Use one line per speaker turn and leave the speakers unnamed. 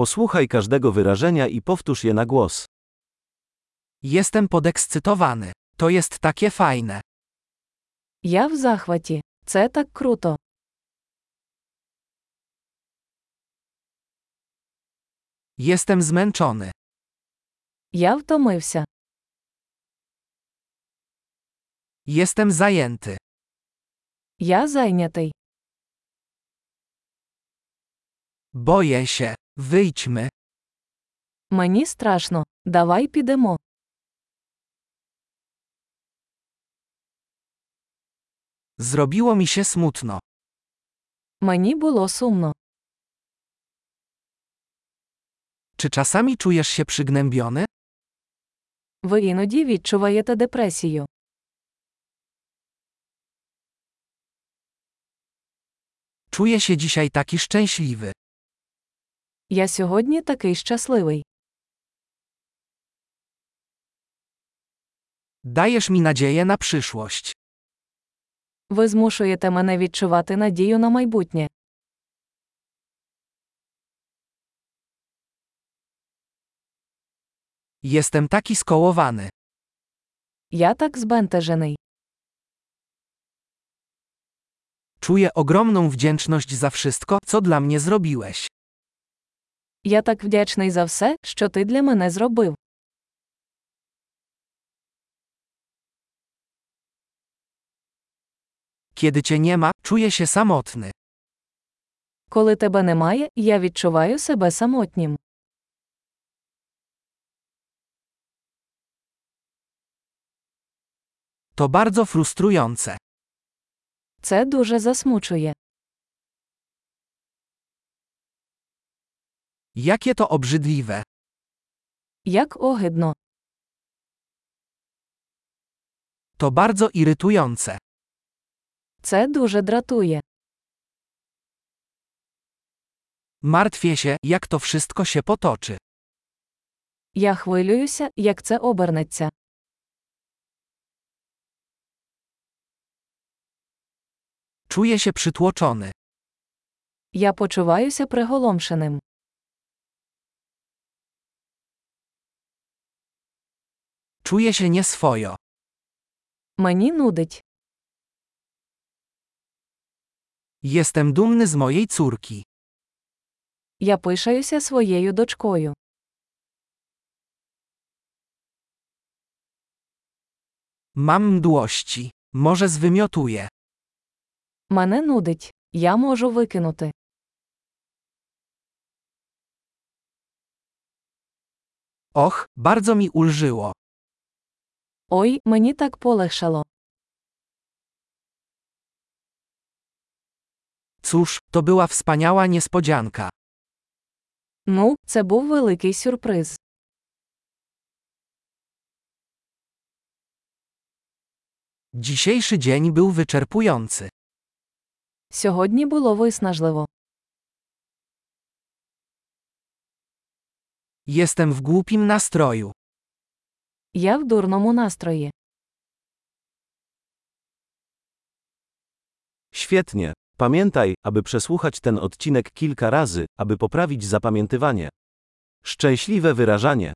Posłuchaj każdego wyrażenia i powtórz je na głos.
Jestem podekscytowany. To jest takie fajne.
Я в захваті. Це так круто.
Jestem zmęczony.
Я втомився.
Jestem zajęty.
Я зайнятий.
Boję się. Wyjdźmy.
Мені страшно. Давай підемо.
Zrobiło mi się smutno.
Мені було сумно.
Czy czasami czujesz się przygnębiony?
Ви іноді відчуваєте депресію.
Czuję się dzisiaj taki szczęśliwy.
Я сьогодні такий щасливий.
Dajesz mi nadzieję na przyszłość.
Ви змушуєте мене відчувати надію на майбутнє.
Jestem taki skołowany.
Я так збентежений.
Czuję ogromną wdzięczność za wszystko, co dla mnie zrobiłeś.
Я так вдячний за все, що ти для мене зробив.
Kiedy cię nie ma, czuję się samotny.
Коли тебе немає, я відчуваю себе самотнім.
To bardzo frustrujące.
Це дуже засмучує.
Jakie to obrzydliwe.
Як огидно.
To bardzo irytujące.
Це дуже дратує.
Martwię się, jak to wszystko się potoczy.
Я хвилююся, як це обернеться.
Czuję się przytłoczony.
Я почуваюся приголомшеним.
Czuję się nieswojo.
Мені нудить.
Jestem dumny z mojej córki.
Я пишаюся своєю дочкою.
Mam mdłości. Może zwymiotuję.
Мене нудить. Я можу викинути.
Och, bardzo mi ulżyło.
Ой, мені так полегшало.
Cóż, to była wspaniała niespodzianka.
Ну, це був великий сюрприз.
Dzisiejszy dzień był wyczerpujący.
Сьогодні було виснажливо.
Jestem w głupim nastroju.
Я в дурному настрої.
Świetnie. Pamiętaj, aby przesłuchać ten odcinek kilka razy, aby poprawić zapamiętywanie. Szczęśliwe wyrażanie.